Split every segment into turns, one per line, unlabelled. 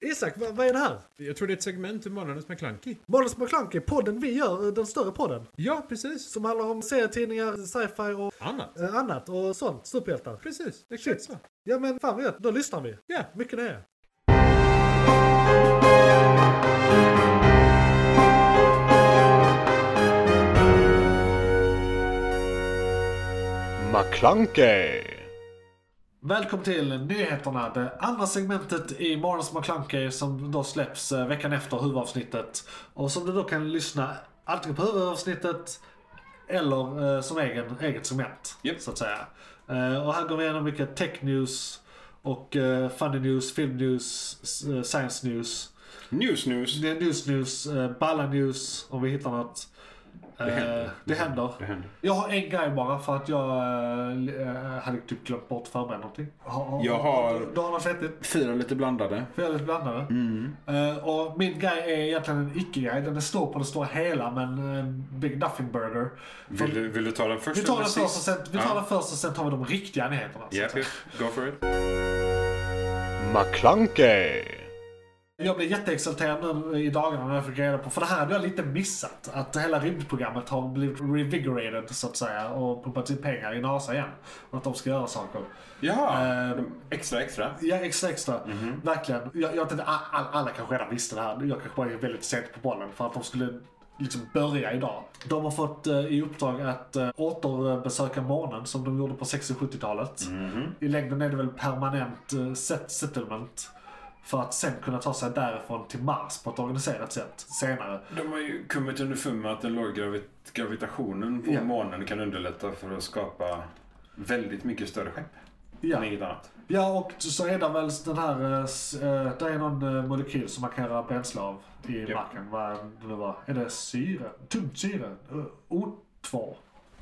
Isak, vad, vad är det här?
Jag tror det är ett segment ur Månadens McKlunky.
Måns McClunky, podden vi gör, eh, den större podden.
Ja, precis.
Som handlar om serietidningar, sci-fi och
Annat.
eh, annat och sånt. Superhjältar.
Precis, exakt så.
Ja men fan vad gött, då lyssnar vi.
Ja,
Mycket nöje.
McClunkey!
Välkommen till nyheterna, det andra segmentet i Morgons McClunky som då släpps eh, veckan efter huvudavsnittet. Och som du då kan lyssna antingen på huvudavsnittet eller eh, som egen, eget segment.
Japp.
Så att säga. Eh, och här går vi igenom mycket tech news och eh, funny news, film news, s- eh, science news,
News news.
Det är news news, eh, balla news om vi hittar något. Eh,
händer.
Det händer.
Det händer.
Jag har en grej bara för att jag eh, hade typ glömt bort förbereda någonting.
Jag har-
Du, du har något vettigt?
Fyra lite blandade.
Väldigt blandade.
Mm.
Eh, och min grej är egentligen en icke-grej. Den är stor på den stora hela men eh, Big Nothing Burger. För-
Vill du, vill du ta den först?
vi tar
eller
den först och
sist?
sen, vi tar
Ja.
den först och sen tar vi de riktiga nyheterna. så att
Japp,
säga.
japp. Go for it.
McClunkey.
Jag blev jätteexalterad nu i dagarna när jag fick reda på, för det här hade jag lite missat, att hela rymdprogrammet har blivit revigorated så att säga och pumpat in pengar i NASA igen. Och att de ska göra saker.
Jaha!
Eh,
extra, extra.
Ja, extra, extra. Verkligen. Jag, jag tänkte, all- all, alla kanske redan visste det här. Jag kanske bara är väldigt sent på bollen för att de skulle liksom börja idag. De har fått eh, i uppdrag att eh, återbesöka månen som de gjorde på 60 och 70-talet. I längden är det väl permanent eh, set- settlement. För att sen kunna ta sig därifrån till Mars på ett organiserat sätt senare.
De har ju kommit underfund med att den låga gravit- gravitationen på
Ja.
månen kan underlätta för att skapa väldigt mycket större skepp
Ja.
än inget annat.
Ja, och så är det väl den här... eh, s- eh, Där är någon eh, molekyl som man kan göra bränsle av i marken. Vad det nu var. Är det syre? Tungt syre? Eh, O2?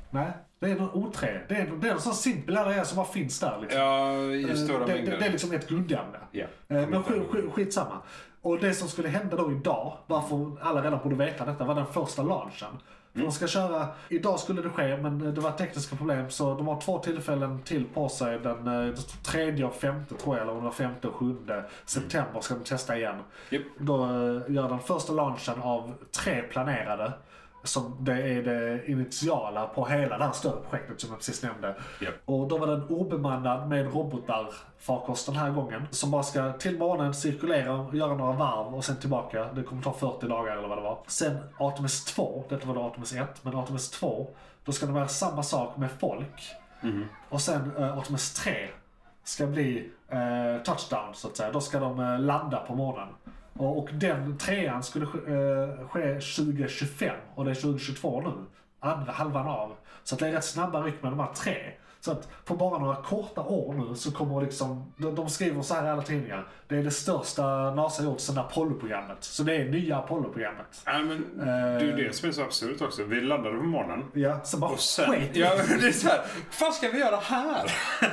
Nej, det är någon O3. Det är, det är en sån simpel grej som bara finns där. Liksom.
Ja, i
Eh,
stora
det, det,
mängder.
det är liksom ett grundämne.
Ja.
Eh, Men sk, sk, skitsamma. Och det som skulle hända då idag, varför alla redan borde veta detta, var den första launchen. För
Mm.
De ska köra, idag skulle det ske, men det var tekniska problem så de har två tillfällen till på sig. Den eh, det står tredje och femte tror jag, eller om det var femte och sjunde september ska de testa igen.
Japp.
Då eh, gör den första launchen av tre planerade. Som det är det initiala på hela det här större projektet som jag precis nämnde.
Japp.
Och då var den obemannad med robotar, farkost den här gången. Som bara ska till månen, cirkulera, göra några varv och sen tillbaka. Det kommer ta 40 dagar eller vad det var. Sen Artemis 2, detta var då Artemis 1, men Artemis 2, då ska de göra samma sak med folk. Och sen eh, Artemis 3 ska bli eh, touchdown så att säga. Då ska de eh, landa på månen. Och, och den trean skulle ske, eh, ske 2025 och det är 2022 nu. Andra halvan av. Så att det är rätt snabba ryck med de här tre. Så att på bara några korta år nu så kommer liksom, de, de skriver så här i alla tidningar. Det är det största NASA gjort sedan Apollo-programmet. Så det är nya Apollo-programmet.
Nej, men det är ju det som är så absurt också. Vi landade på månen.
Ja, så bara
Och sen,
skit i
ja, men det är så här, vad fan ska vi göra här?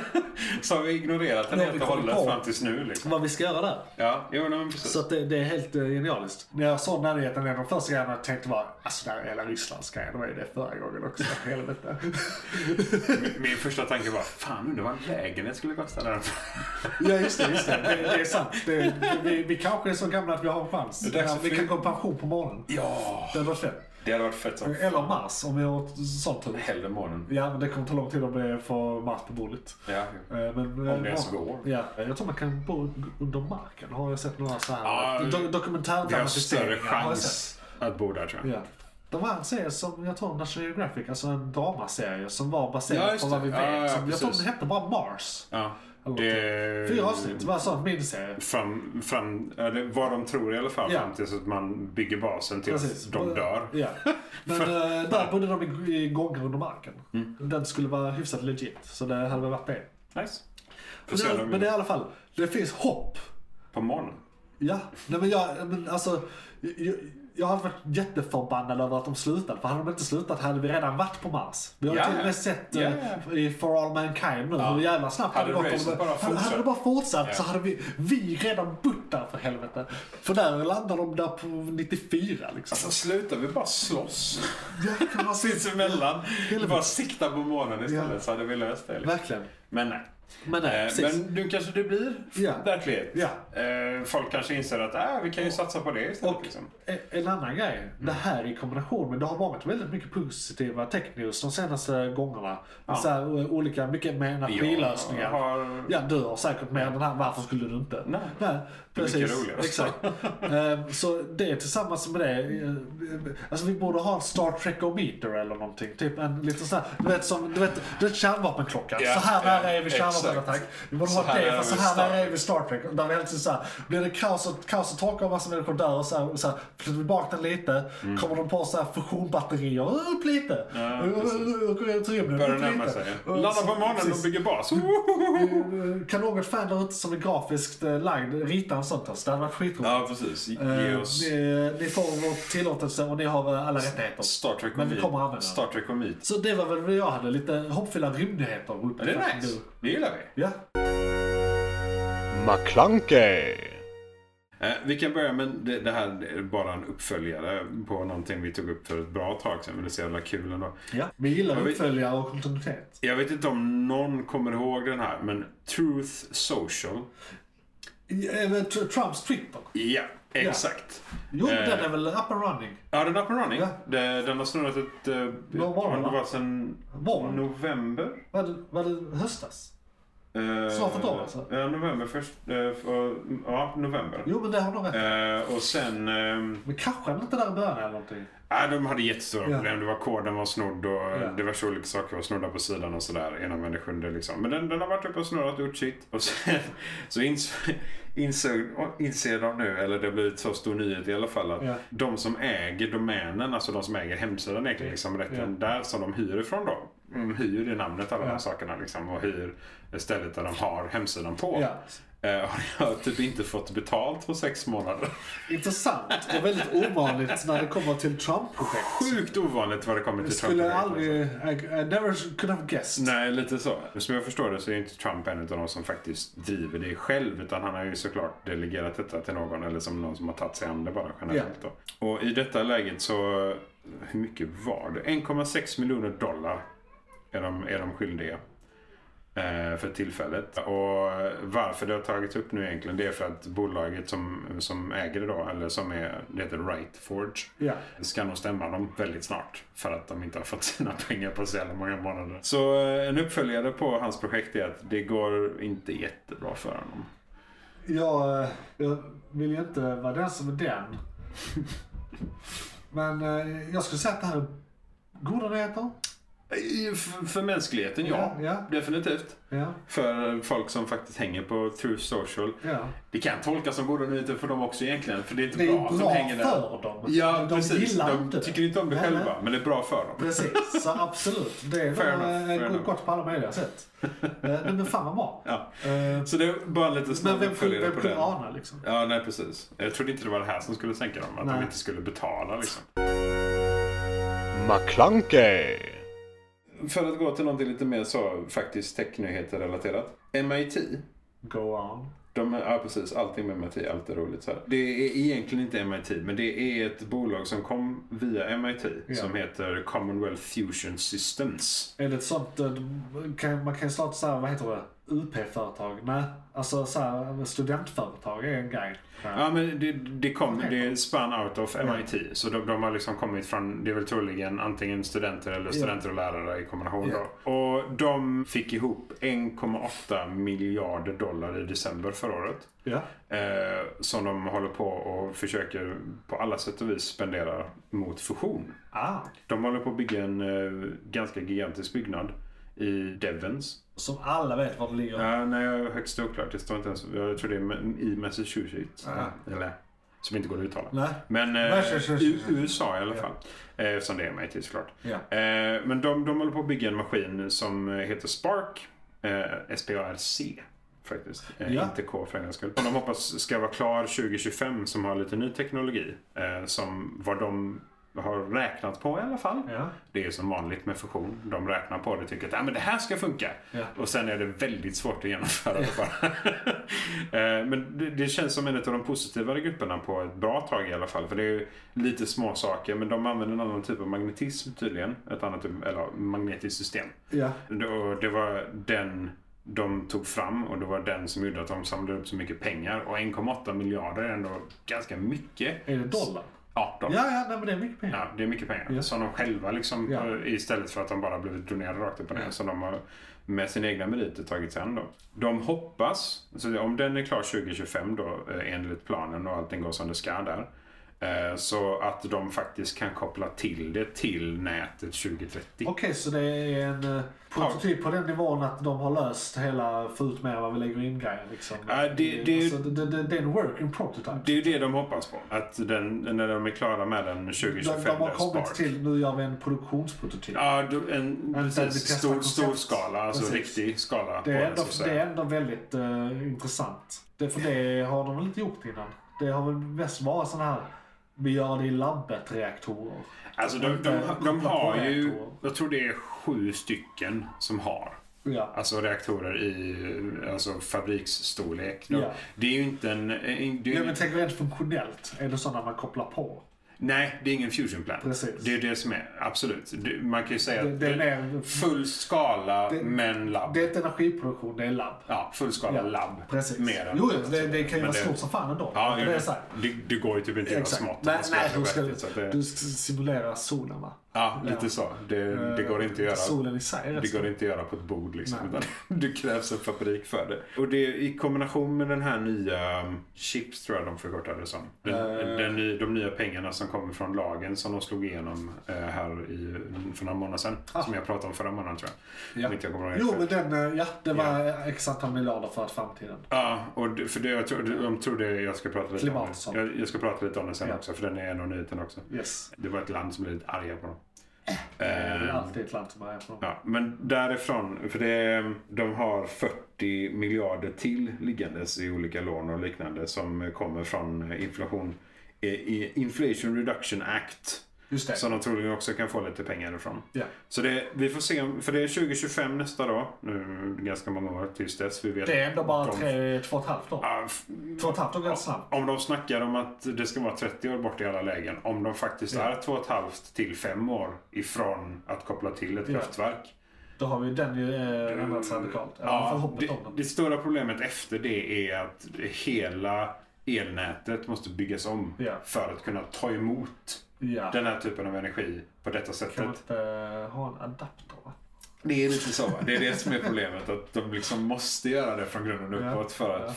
Så har vi ignorerat den
Nu har
helt
vi
och
kommit
hållet
på.
fram tills nu. Liksom.
vad vi ska göra där.
Ja, jo, nej, men precis.
Så att det, det är helt eh, genialiskt. När jag såg den här nyheten, en av de första grejerna jag tänkte var alltså den här hela Rysslandsgrejen, det var ju det förra gången också. Helvete.
Min första tanke var, fan undrar vad en lägenhet skulle kosta där.
ja just det, just det. Det, det är sant. Det, vi, vi kanske är så gamla att vi har en chans.
Det är dags
Ja,
att
vi
fly-
kan gå i pension på morgonen.
Ja,
Det hade varit fett.
det hade varit fett som
Eller Mars om vi har sånt tur.
hellre månen.
Ja men det kommer ta lång tid om det får Mars på bordet.
Ja.
Eh, Men,
Om det ens går.
Ja, jag tror man kan bo under marken. Har jag sett några så här do,
Ja, Vi har större
dokumentärdramatiseringar. har jag sett.
chans att bo där tror jag.
Ja. De här serier som, jag tror National Geographic, alltså en dramaserie som var baserad
Ja, just
på vad
det.
vi vet.
Ja, ja, ja,
som, jag tror
precis.
den hette bara Mars.
Ja.
Eller
Det...
Fyra avsnitt, det var en sån miniserie.
Fram, fram, eller vad de tror i alla fall,
Ja.
fram tills att man bygger basen tills de dör.
Ja. Men eh, där bodde de i, i gångar under marken.
Mm.
Den skulle vara hyfsat legit, så det hade väl varit det.
Nice. Får se om
Men,
de-
men det är i alla fall, det finns hopp.
På månen.
Ja, nej men jag, men alltså, jag, jag har varit jätteförbannad över att de slutade. För hade de inte slutat hade vi redan varit på Mars. Vi har ju
Ja,
till och
ja.
med sett
Ja,
eh, i For All Mankind nu hur jävla snabbt
Hade
det gått.
racet
Om det-
bara
hade, hade det bara fortsatt så
Ja.
hade vi, vi redan bott där för helvete. För där landar de där på 94 liksom.
Alltså slutar vi bara slåss
ja, kan man se.
sinsemellan. Bara sikta på månen istället
Ja.
så hade vi löst det. Liksom.
Verkligen.
Men nej.
Men nej,
Eh,
precis.
Men nu kanske det blir
Ja.
verklighet.
Ja.
Eh, folk kanske inser att äh, vi kan ju satsa på det istället.
Och
liksom.
e- en annan grej. Det
Mm.
här i kombination med, det har varit väldigt mycket positiva tech news de senaste gångerna.
Ja.
Så här, o- olika, mycket med energilösningar.
Jag har-
Ja, du har säkert mer den här, varför skulle du inte?
Nej. Det är
precis.
mycket roligare.
Exakt. Ehm, så det tillsammans med det, eh, alltså vi borde ha en Star Trek-ometer eller någonting. Typ en liten sån här, du vet som, du vet, du vet kärnvapenklockan.
Ja,
så här
ja,
nära är vi kärnvapenattack.
exakt.
Vi borde
Så
ha
här
det,
är
fast så
vi
här
Star
nära är
Trek.
vi Star Trek. Där vi alltid så här, blir det kaos och, kaos och torka och massa människor dör och så här, och så här flyttar vi bak den lite. Kommer de på så här fusionbatterier, upp lite.
Ja, precis.
Upp ut i rymden,
Börjar
upp
närma
lite.
sig.
Och
Landar
så-
på månen och
precis. Mm.
bygger bas.
Kan något fan där ute som är grafiskt eh, lagd rita en sån till oss? Det hade varit skitroligt.
ja, precis. Ge
Eh,
oss
ni, ni får vår tillåtelse och ni har eh, alla rättigheter.
Star Trek och
Men vi
Meet.
kommer använda den.
Star Trek och Meet.
Så det var väl vad jag hade, lite hoppfulla rymdnyheter.
Ja, Det är nice. Det gillar vi.
Ja.
McClunkey.
Eh, vi kan börja med det, det här, är bara en uppföljare på någonting vi tog upp för ett bra tag sedan. Men det är så jävla kul ändå.
ja. Vi gillar
Men vi-
uppföljare och kontinuitet.
Jag vet inte om någon kommer ihåg den här, men Truth Social.
Eh, men Tr- Trumps Twitter.
Ja, exakt.
Jo,
Eh.
den är väl up and running.
Ja, den är up and running.
Ja.
Det, den har snurrat ett... eh,
Några
har
månader,
det
va?
varit sedan
Morgon.
Mm. november?
Var det, var det höstas?
Eh,
Snart ett år, alltså.
Ja, november först. eh, och- Ja, november.
Jo, men det har de rätt
Eh, och sen... ehm,
Men kanske den inte där i början eller någonting.
Nej, de hade jättestora
Ja.
problem. Det var koden var snodd och
Ja.
diverse olika saker var snodda på sidan och sådär. Ena människan det liksom. Men den, den har varit uppe och snurrat och gjort sitt. Och sen så insåg, insåg, inser de nu, eller det har blivit så stor nyhet i alla fall, att
Ja.
de som äger domänen, alltså de som äger hemsidan egentligen, liksom rätten där som de hyr ifrån då. De hyr det namnet alla de
Ja.
här sakerna liksom och hyr stället där de har hemsidan på.
Ja.
Eh, och jag har typ inte fått betalt på sex månader.
Intressant och väldigt ovanligt när det kommer till Trump-projekt.
Sjukt ovanligt vad det kommer till
Skulle jag
Trump.
aldrig... I, I never could have guessed.
alltså. Nej, lite så. Som jag förstår det så är inte Trump en av de som faktiskt driver det själv. Utan han har ju såklart delegerat detta till någon. Eller som någon som har tagit sig an det bara generellt. Då. Och i detta läget så... Hur mycket var det? 1,6 miljoner dollar är de, är de skyldiga. eh, För tillfället. Och varför det har tagits upp nu egentligen det är för att bolaget som, som äger det då, eller som är, det heter Rightforge.
Ja.
Ska nog stämma dem väldigt snart. För att de inte har fått sina pengar på så jävla många månader. Så eh, en uppföljare på hans projekt är att det går inte jättebra för honom.
Jag, eh, jag vill ju inte vara den som är den. Men eh, jag skulle säga att det här är goda nyheter.
Eh, För, för mänskligheten, ja.
Ja, ja.
Definitivt.
Ja.
För folk som faktiskt hänger på Truth Social.
ja.
Det kan tolkas som goda nyheter för dem också egentligen. För det är inte
Det är
bra
bra,
att de hänger där.
för dem.
Ja,
de
precis.
gillar
De
inte det.
tycker inte om det
Nej,
själva.
nej.
Men det är bra för dem.
Precis, så absolut. Det är
Fair
nog,
enough,
eh,
fair
gott-
enough.
gott på alla möjliga sätt. Eh, Nej men fan vad bra.
Ja.
Eh,
Så det är bara lite
Men
snabb
vem kunde
uppföljare
vem
på
kunde
den.
ana liksom?
Ja, nej precis. Jag trodde inte det var det här som skulle sänka dem. Att
Nej.
de inte skulle betala liksom.
McClunkey.
För att gå till någonting lite mer så faktiskt technyheter relaterat. MIT.
Go on.
De, ja precis, allting med MIT, allt är roligt så här. Det är egentligen inte MIT, men det är ett bolag som kom via MIT.
Ja.
Som heter Commonwealth Fusion Systems.
Är det ett sånt, eh, kan, man kan ju starta såhär, vad heter det, UP-företag? Nej, alltså såhär, studentföretag är en grej.
Ja, men det, det kom, det span out of MIT. Så de, de har liksom kommit från, det är väl troligen antingen studenter eller studenter och lärare i kombination då. Och de fick ihop 1,8 miljarder dollar i december förra året.
Ja.
Eh, som de håller på och försöker på alla sätt och vis spendera mot fusion.
Ah.
De håller på att bygga en eh, ganska gigantisk byggnad i Devens.
Som alla vet var det ligger.
Ja, nej, jag är högst oklart. Det står inte ens. Jag tror det är i Massachusetts. eh, Eller, som inte går att uttala.
Nej.
Men eh,
Massachusetts.
i USA i alla fall. Eh, Eftersom det är MIT såklart.
Ja.
Eh, men de, de håller på att bygga en maskin som heter Spark. Eh, SPARC. Faktiskt. Eh,
Ja.
Inte K för en gångs skull. Som de hoppas ska vara klar 2025 som har lite ny teknologi. Eh, som vad de har räknat på i alla fall.
Ja.
Det är som vanligt med fusion. De räknar på det och tycker att ah, men det här ska funka.
Ja.
Och sen är det väldigt svårt att genomföra det bara. Eh, men det, det känns som en av de positivare grupperna på ett bra tag i alla fall. För det är ju lite små saker men de använder en annan typ av magnetism tydligen. Ett annat typ, eller magnetiskt system.
Ja.
Det- Och det var den de tog fram och det var den som gjorde att de samlade upp så mycket pengar. Och 1,8 miljarder är ändå ganska mycket.
Är det dollar?
Ja, de,
Ja, ja, nej, men det är mycket pengar.
Ja, det är mycket pengar.
Ja.
Som de själva liksom,
Ja.
eh, istället för att de bara blivit donerade rakt upp och ner.
Ja.
Så de har med sina egna meriter tagit sig an då. De hoppas, så om den är klar 2025 då eh, enligt planen och allting går som det ska där. eh, Så att de faktiskt kan koppla till det till nätet 2030.
Okej, så det är en eh, prototyp på den nivån att de har löst hela få ut mer vad vi lägger in grejen. Liksom.
Ja, det- det är ju-
alltså, det, det, det är en working prototype.
Det är ju det de hoppas på. Att den, när de är klara med den
De,
2025
de har
där
kommit
Spark.
till, nu gör vi en produktionsprototyp.
Ja, du- en
där vi
precis,
testar
stor,
koncept.
stor skala. Alltså
Precis.
riktig skala.
det,
på
är ändå,
så att
det
säga.
är ändå väldigt eh, intressant. Det, för det har de väl inte gjort innan? Det har väl mest varit sådana här, vi gör det i labbet reaktorer.
Alltså de, de, de,
Koppla på
har ju,
reaktorer.
jag tror det är sju stycken som har.
Ja.
Alltså reaktorer i alltså, fabriksstorlek. De,
Ja.
Det är ju inte en... en det är,
Ja,
ju-
men tänk rent funktionellt, är det sådana man kopplar på?
Nej, det är ingen fusion plant.
Precis.
Det är det som är, absolut. Det, man kan ju säga
Det,
att
den är,
full skala
Det-
men labb.
det är inte energiproduktion, det är labb.
ja, full skala
Ja,
labb.
Precis.
Mer än,
jo, jo, det, det kan ju
Men
vara
det-
stort som fan ändå.
Ja,
det
det,
är så här.
det, det går ju typ inte att göra
Exakt.
smått. om
Nej,
man ska
nej,
göra
du, ska,
verkligen, så att det-
du ska simulera solen va?
Ja, lite så. Det, det går inte att göra.
Solen i sig är rätt
Det
stor.
går inte att göra på ett bord liksom. Utan det krävs en fabrik för det. Och det är i kombination med den här nya um, chips tror jag de förkortade det som. Den,
Eh.
den, ny- de nya pengarna som kommer från lagen som de slog igenom eh, här i, för några månader sedan. Som jag pratade om förra månaden tror jag.
Ah. Ja.
Om inte jag kommer ihåg
Jo,
helt
men
fel.
den, eh, ja, det var x antal miljarder för att framtiden.
Ja, och det, för det, jag tror, de tror det jag ska prata lite
Klimat och
om.
sånt.
det. Jag, jag ska prata lite om det sen
Ja.
också för den är en av nyheterna också.
Yes.
Det var ett land som blev lite arga på dem.
Det är väl
Ehm,
alltid ett land som är från.
Ja, men därifrån, för det, de har 40 miljarder till liggandes i olika lån och liknande som kommer från inflation, eh, i- Inflation Reduction Act.
Just det.
Som de troligen också kan få lite pengar ifrån.
Ja.
Så det, vi får se, om- för det är 2025 nästa då. Nu är det ganska många år tills dess. Vi vet
Det är ändå bara
de-
tre, två och ett halvt år.
Ja, f-
Två och ett halvt år ganska snabbt.
om de snackar om att det ska vara 30 år bort i alla lägen. Om de faktiskt
Ja.
är två och ett halvt till fem år ifrån att koppla till ett
Ja.
kraftverk.
Då har vi den ju eh, ändrats radikalt. Ja, I alla fall hoppet
det,
om den.
det stora problemet efter det är att hela elnätet måste byggas om
Ja.
för att kunna ta emot
Ja.
den här typen av energi på detta sättet.
Kan man inte eh, ha en adapter va?
Det är lite så. va? Det är det som är problemet. Att de liksom måste göra det från grunden
Ja,
uppåt för att
ja.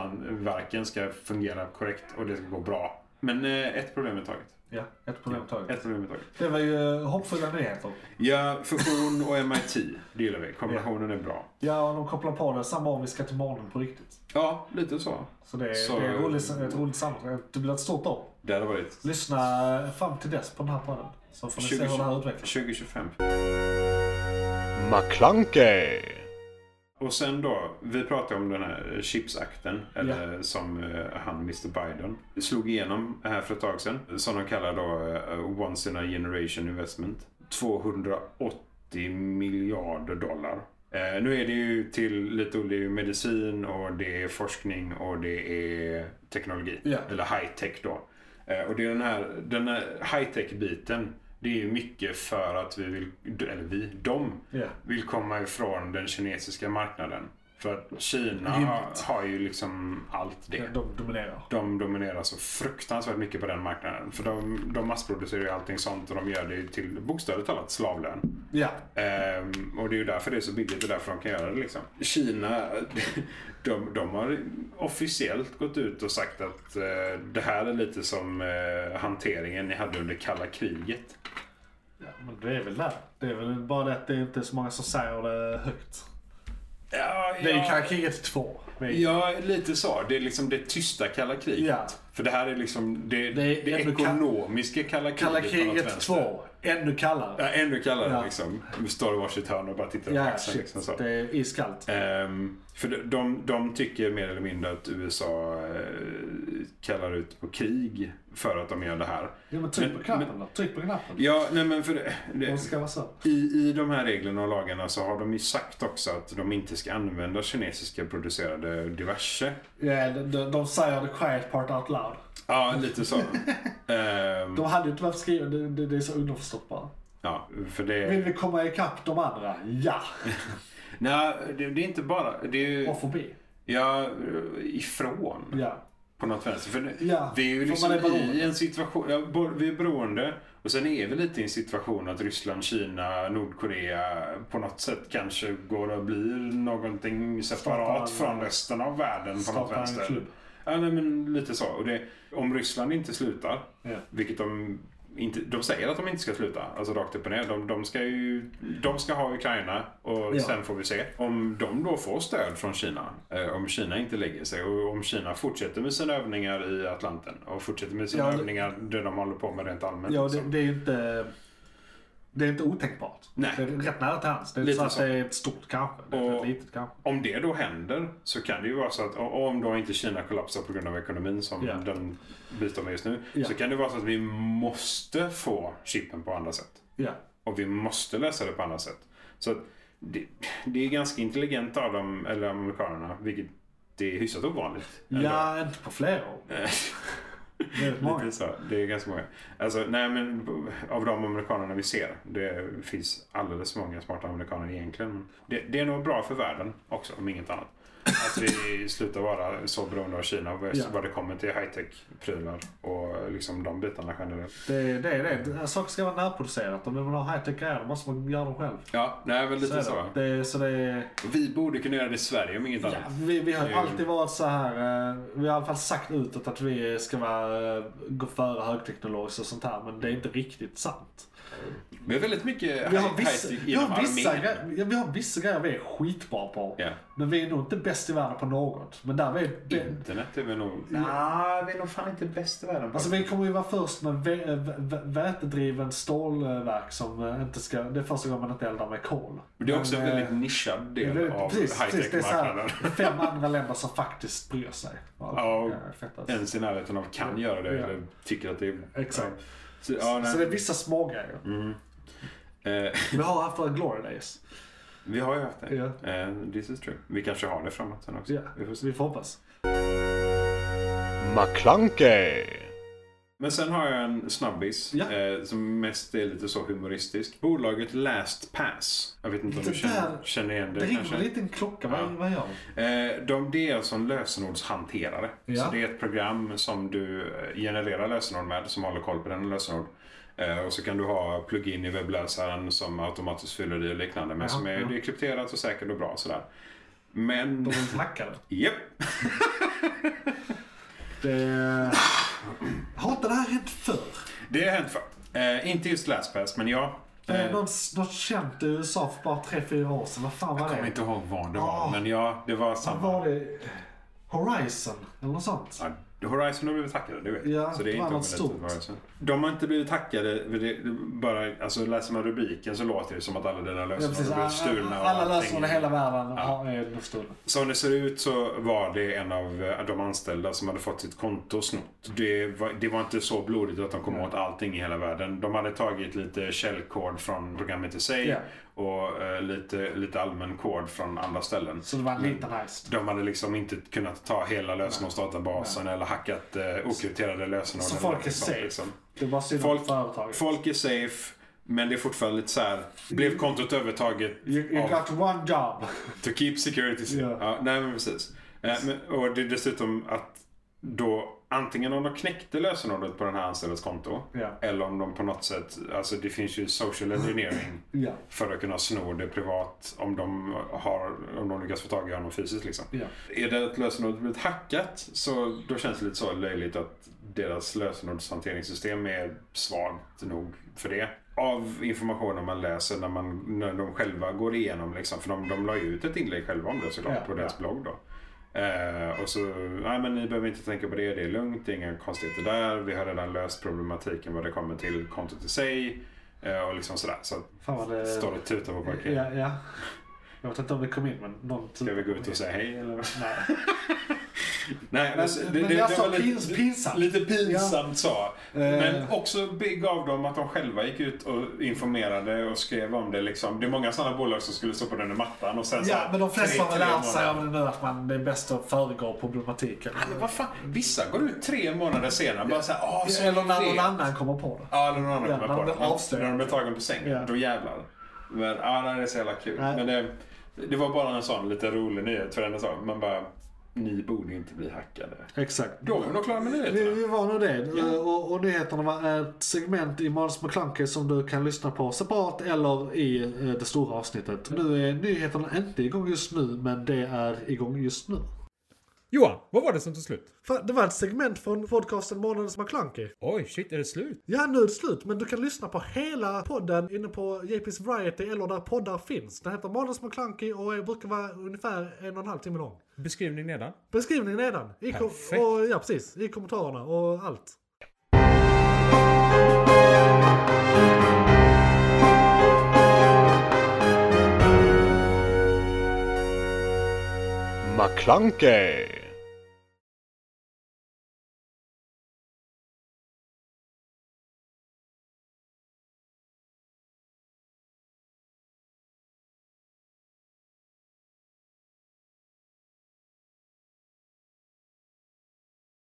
fusionsplanverken ska fungera korrekt och det ska gå bra. Men eh, ett problem i taget.
Ja, ett problem taget.
Ett problem i taget.
Det var ju hoppfulla nyheter.
Ja, fusion och MIT. Det gillar vi. Kombinationen är bra.
Ja, de kopplar på det samma om vi ska till månen på riktigt.
Ja, lite så.
Så det är,
Så-
det är roligt, ett roligt samtal. Det blir ett stort år.
Det hade varit
Lyssna fram till dess på den här podden. Så får ni se hur det här utvecklas.
2025.
McClunkey.
Och sen då, vi pratade om den här chipsakten, eller som eh, han Mr Biden slog igenom här för ett tag sedan. Som de kallar då eh, Once in a generation investment. 280 miljarder dollar. Eh, nu är det ju till lite olika medicin och det är forskning och det är teknologi.
Ja.
Eller high tech då. Eh, och det är den här, den här high tech biten. Det är ju mycket för att vi vill, eller vi, de
Ja.
vill komma ifrån den kinesiska marknaden. För att Kina
Rimligt.
har ju liksom allt det.
De dominerar.
De dominerar så fruktansvärt mycket på den marknaden. För de, de massproducerar ju allting sånt och de gör det till bokstavligt talat slavlön.
Ja.
Ehm, och det är ju därför det är så billigt och därför de kan göra det. Liksom. Kina, de, de har officiellt gått ut och sagt att eh, det här är lite som eh, hanteringen ni hade under kalla kriget.
ja. Men det är väl där. Det är väl bara det att det är inte är så många som säger det högt.
Ja,
Det är ju
ja.
kalla kriget 2. Det är-
Ja, lite så. Det är liksom det tysta kalla kriget.
Ja.
För det här är liksom det,
Det är
det,
ändå ka-
ekonomiska kalla kriget.
Kalla
på något
kriget
vänster.
2. Ännu kallare.
Ja, ännu kallare
Ja.
liksom. Vi står i varsitt hörn och bara tittar på
Ja,
axeln.
shit.
Liksom, så.
Det är iskallt.
Ehm, för de, de, de tycker mer eller mindre att USA eh, kallar ut på krig för att de gör det här.
Ja, men tryck
men-
på knappen då. Tryck på knappen.
Ja, nej men för det,
De
det,
ska vara så.
i, I de här reglerna och lagarna så har de ju sagt också att de inte ska använda kinesiska producerade diverse.
Ja, de, de, de säger the quiet part out loud.
Ja, lite så. Ehm,
De hade ju inte behövt skriva det. Det, det är så underförstått bara.
Ja, för det...
Vill vi komma ikapp de andra? Ja.
Nej, det, det är inte bara... Det är ju...
A får B.
Ja, ifrån.
Ja.
På något vänster. För nu-
Ja,
vi är ju
för
liksom
man är beroende.
i en situation, ja, bo- vi är beroende och sen är vi lite i en situation att Ryssland, Kina, Nordkorea på något sätt kanske går och blir någonting separat
Startar en-
från resten av världen på något
startar en
vänster.
klubb.
Ja, nej, men lite så. Och det, om Ryssland inte slutar,
Ja.
vilket de inte, de säger att de inte ska sluta, alltså rakt upp och ner. De, de, ska, ju, de ska ha Ukraina och
Ja.
sen får vi se. Om de då får stöd från Kina, eh, om Kina inte lägger sig och om Kina fortsätter med sina övningar i Atlanten och fortsätter med sina
Ja, det-
övningar där de håller på med rent allmänt.
Ja, det,
liksom.
det är ju inte... Det är inte otänkbart.
Nej.
Det är rätt nära till hands. Det är inte
Lite
så att
så.
det är stort kanske. Det är
Och-
rätt litet kanske.
Om det då händer så kan det ju vara så att och om då inte Kina kollapsar på grund av ekonomin som
Ja.
den bistår med just nu
Ja.
så kan det vara så att vi måste få chippen på andra sätt.
Ja.
Och vi måste lösa det på andra sätt. Så att det, det är ganska intelligent av dem, eller amerikanerna, vilket det är hyfsat ovanligt. ändå.
ja, inte på flera år. Det är rätt många.
Lite så. Det är ganska många. Alltså, nej, men av de amerikanerna vi ser, det finns alldeles för många smarta amerikaner egentligen. Men Det, det är nog bra för världen också, om inget annat. Att vi slutar vara så beroende av Kina vad,
Ja.
vad det kommer till high-tech-prylar och liksom de bitarna generellt.
Det, det är det. Saker ska vara närproducerat. Om man vill ha high-tech grejer då måste man göra dem själv.
Ja, nej, men lite så.
är det. Det, så det är...
Vi borde kunna göra det i Sverige om inget
Ja,
annat.
vi, vi har ju
Det är-
alltid varit så här. eh, Vi har i alla fall sagt utåt att vi ska vara, eh, gå före högteknologiskt och sånt här. Men det är inte riktigt sant.
Vi har väldigt mycket
Vi har
high-
vissa,
high-tech
vi har
inom
vissa,
armén.
gre- ja, vi har vissa grejer vi är skitbra på.
Ja.
Men vi är nog inte bäst i världen på något. Men där vi är be-
Internet är väl nog... Nej, vi är nog fan inte bäst i världen.
Alltså vi kommer ju vara först med vä- vä- vä- vätedriven stålverk som eh, inte ska... Det är första gången man inte eldar med kol.
det är också
Men,
en
eh,
väldigt nischad
det är
del
väldigt-
av
precis, precis, det är så
high-tech-marknaden.
här, fem andra länder som faktiskt bryr sig.
Ja, och
eh, fett alltså.
Ens i närheten av kan göra det
Ja.
eller tycker att det är...
Exakt.
Så, ja, nej. Mm.
Så det är vissa smågrejer.
Eh,
Vi har haft våra glory days.
vi har ju haft det.
Ja.
Eh, this is true. Vi kanske har det framåt sen också.
Ja,
Vi får se.
vi får hoppas.
McClunkey.
Men sen har jag en snabbis
Ja.
eh, som mest är lite så humoristisk. Bolaget LastPass. Jag vet inte om
Det
du känner,
där-
känner igen det,
Det ringer
kanske.
en liten klocka. Vad,
Ja.
vad gör vi?
Eh, de, det är alltså en lösenordshanterare.
Ja.
Så det är ett program som du eh, genererar lösenord med som håller koll på dina lösenord. Eh, och så kan du ha plugin i webbläsaren som automatiskt fyller i och liknande. Men
Ja,
som är,
ja.
det är krypterat och säkert och bra. Sådär. Men...
De är inte hackade.
Japp!
Det... Har inte det här hänt förr?
Det har hänt för. Eh, inte just LastPass, men ja.
Det är
Eh,
någon, något känt i USA för bara 3-4 år sedan. Vad fan var
jag kommer
det?
inte ihåg vad det var,
Ah.
men ja, det var
Vad
samma.
var det? Horizon? Eller något sånt?
Ja, Horizon har blivit hackade, du vet.
Ja,
så det är
det
inte
var något
omöjligt att
stort.
Horizon- De har inte blivit hackade, för det, det bara, alltså läser man rubriken så låter det som att alla dina
Ja,
lösenord
precis.
har blivit stulna. och
Alla
allting.
lösenord i hela världen har- är nu stulna.
Som det ser ut så var det en av eh, de anställda som hade fått sitt konto snott. Det var, det var inte så blodigt att de kom åt allting i hela världen. De hade tagit lite källkod från programmet i sig
Ja.
och eh, lite, lite allmän kod från andra ställen.
Så det var en liten heist.
De hade liksom inte kunnat ta hela lösenordsdatabasen eller hackat eh, okrypterade lösenord.
Så
eller
folk är
någonting sånt,
safe.
liksom.
Det är bara synd om
Folk,
företaget.
folk är safe, men det är fortfarande lite så här. Blev kontot övertaget
You, you
av
got one job.
To keep security safe.
Ja.
Ja, nej, men precis. Eh, men, och det är dessutom att då antingen om de knäckte lösenordet på den här anställdas konto
Ja.
eller om de på något sätt, alltså det finns ju social engineering
Ja.
för att kunna sno det privat om de, har, om de lyckas få tag i honom fysiskt. Liksom.
Ja.
Är det att lösenordet blivit hackat så då känns det lite så löjligt att deras lösenordshanteringssystem är svagt nog för det. Av informationen man läser när, man, när de själva går igenom, liksom, för de, de la ju ut ett inlägg själva om det såklart
Ja,
på
ja.
deras blogg. då. Eh, och så, nej men ni behöver inte tänka på det, det är lugnt, det är inga konstigheter där. Vi har redan löst problematiken vad det kommer till kontot i sig. eh, och liksom sådär. Så att
Fan vad det...
Står och tutar på parkeringen.
Ja, ja. Jag vet inte om det kom in men någon typ-
Ska vi gå ut och säga hej eller?
Nej.
Nej, alltså,
Men-
det,
men
det,
jag
det
sa
var lite-
pins- pinsamt.
Lite pinsamt sa. Men
Eh.
också gav dem att de själva gick ut och informerade och skrev om det. Liksom. Det är många sådana bolag som skulle stå på den i mattan och sen så
Ja,
här,
men de flesta
Alltså, tre-
har väl
tre
lärt sig
månader.
av det nu att man, det är bäst att föregå problematiken.
Men vad fan, vissa går ut tre månader senare bara såhär, ah, så
Eller när
vet."
någon annan kommer på det.
Ja, eller någon annan
Ja,
kommer
när
på
de
det.
blir
Men
avslöjade.
När de blir tagen på sängen,
Ja.
då jävlar. Men ja, nej, det är så jävla kul.
Nej.
Men det, Det var bara en sån lite rolig nyhet för henne sa. Man bara, ni borde inte bli hackade.
Exakt.
Då var vi nog klara med
Vi,
nyheterna.
vi var nog det. Eh, Och, och nyheterna var ett segment i Måns McClunky som du kan lyssna på separat eller i eh, det stora avsnittet. Nu är nyheterna inte igång just nu, men det är igång just nu.
Johan, vad var det som tog slut?
Fan, Det var ett segment från podcasten Månadens McClunky.
Oj, shit, är det slut?
Ja, nu är det slut, men du kan lyssna på hela podden inne på JP's Variety eller där poddar finns. Den heter Månadens McClunky och är- brukar vara ungefär en och en halv timme lång.
Beskrivning nedan.
Beskrivningen nedan. I kom-
Perfekt.
och, ja, precis. I kommentarerna och allt.
McClunkey!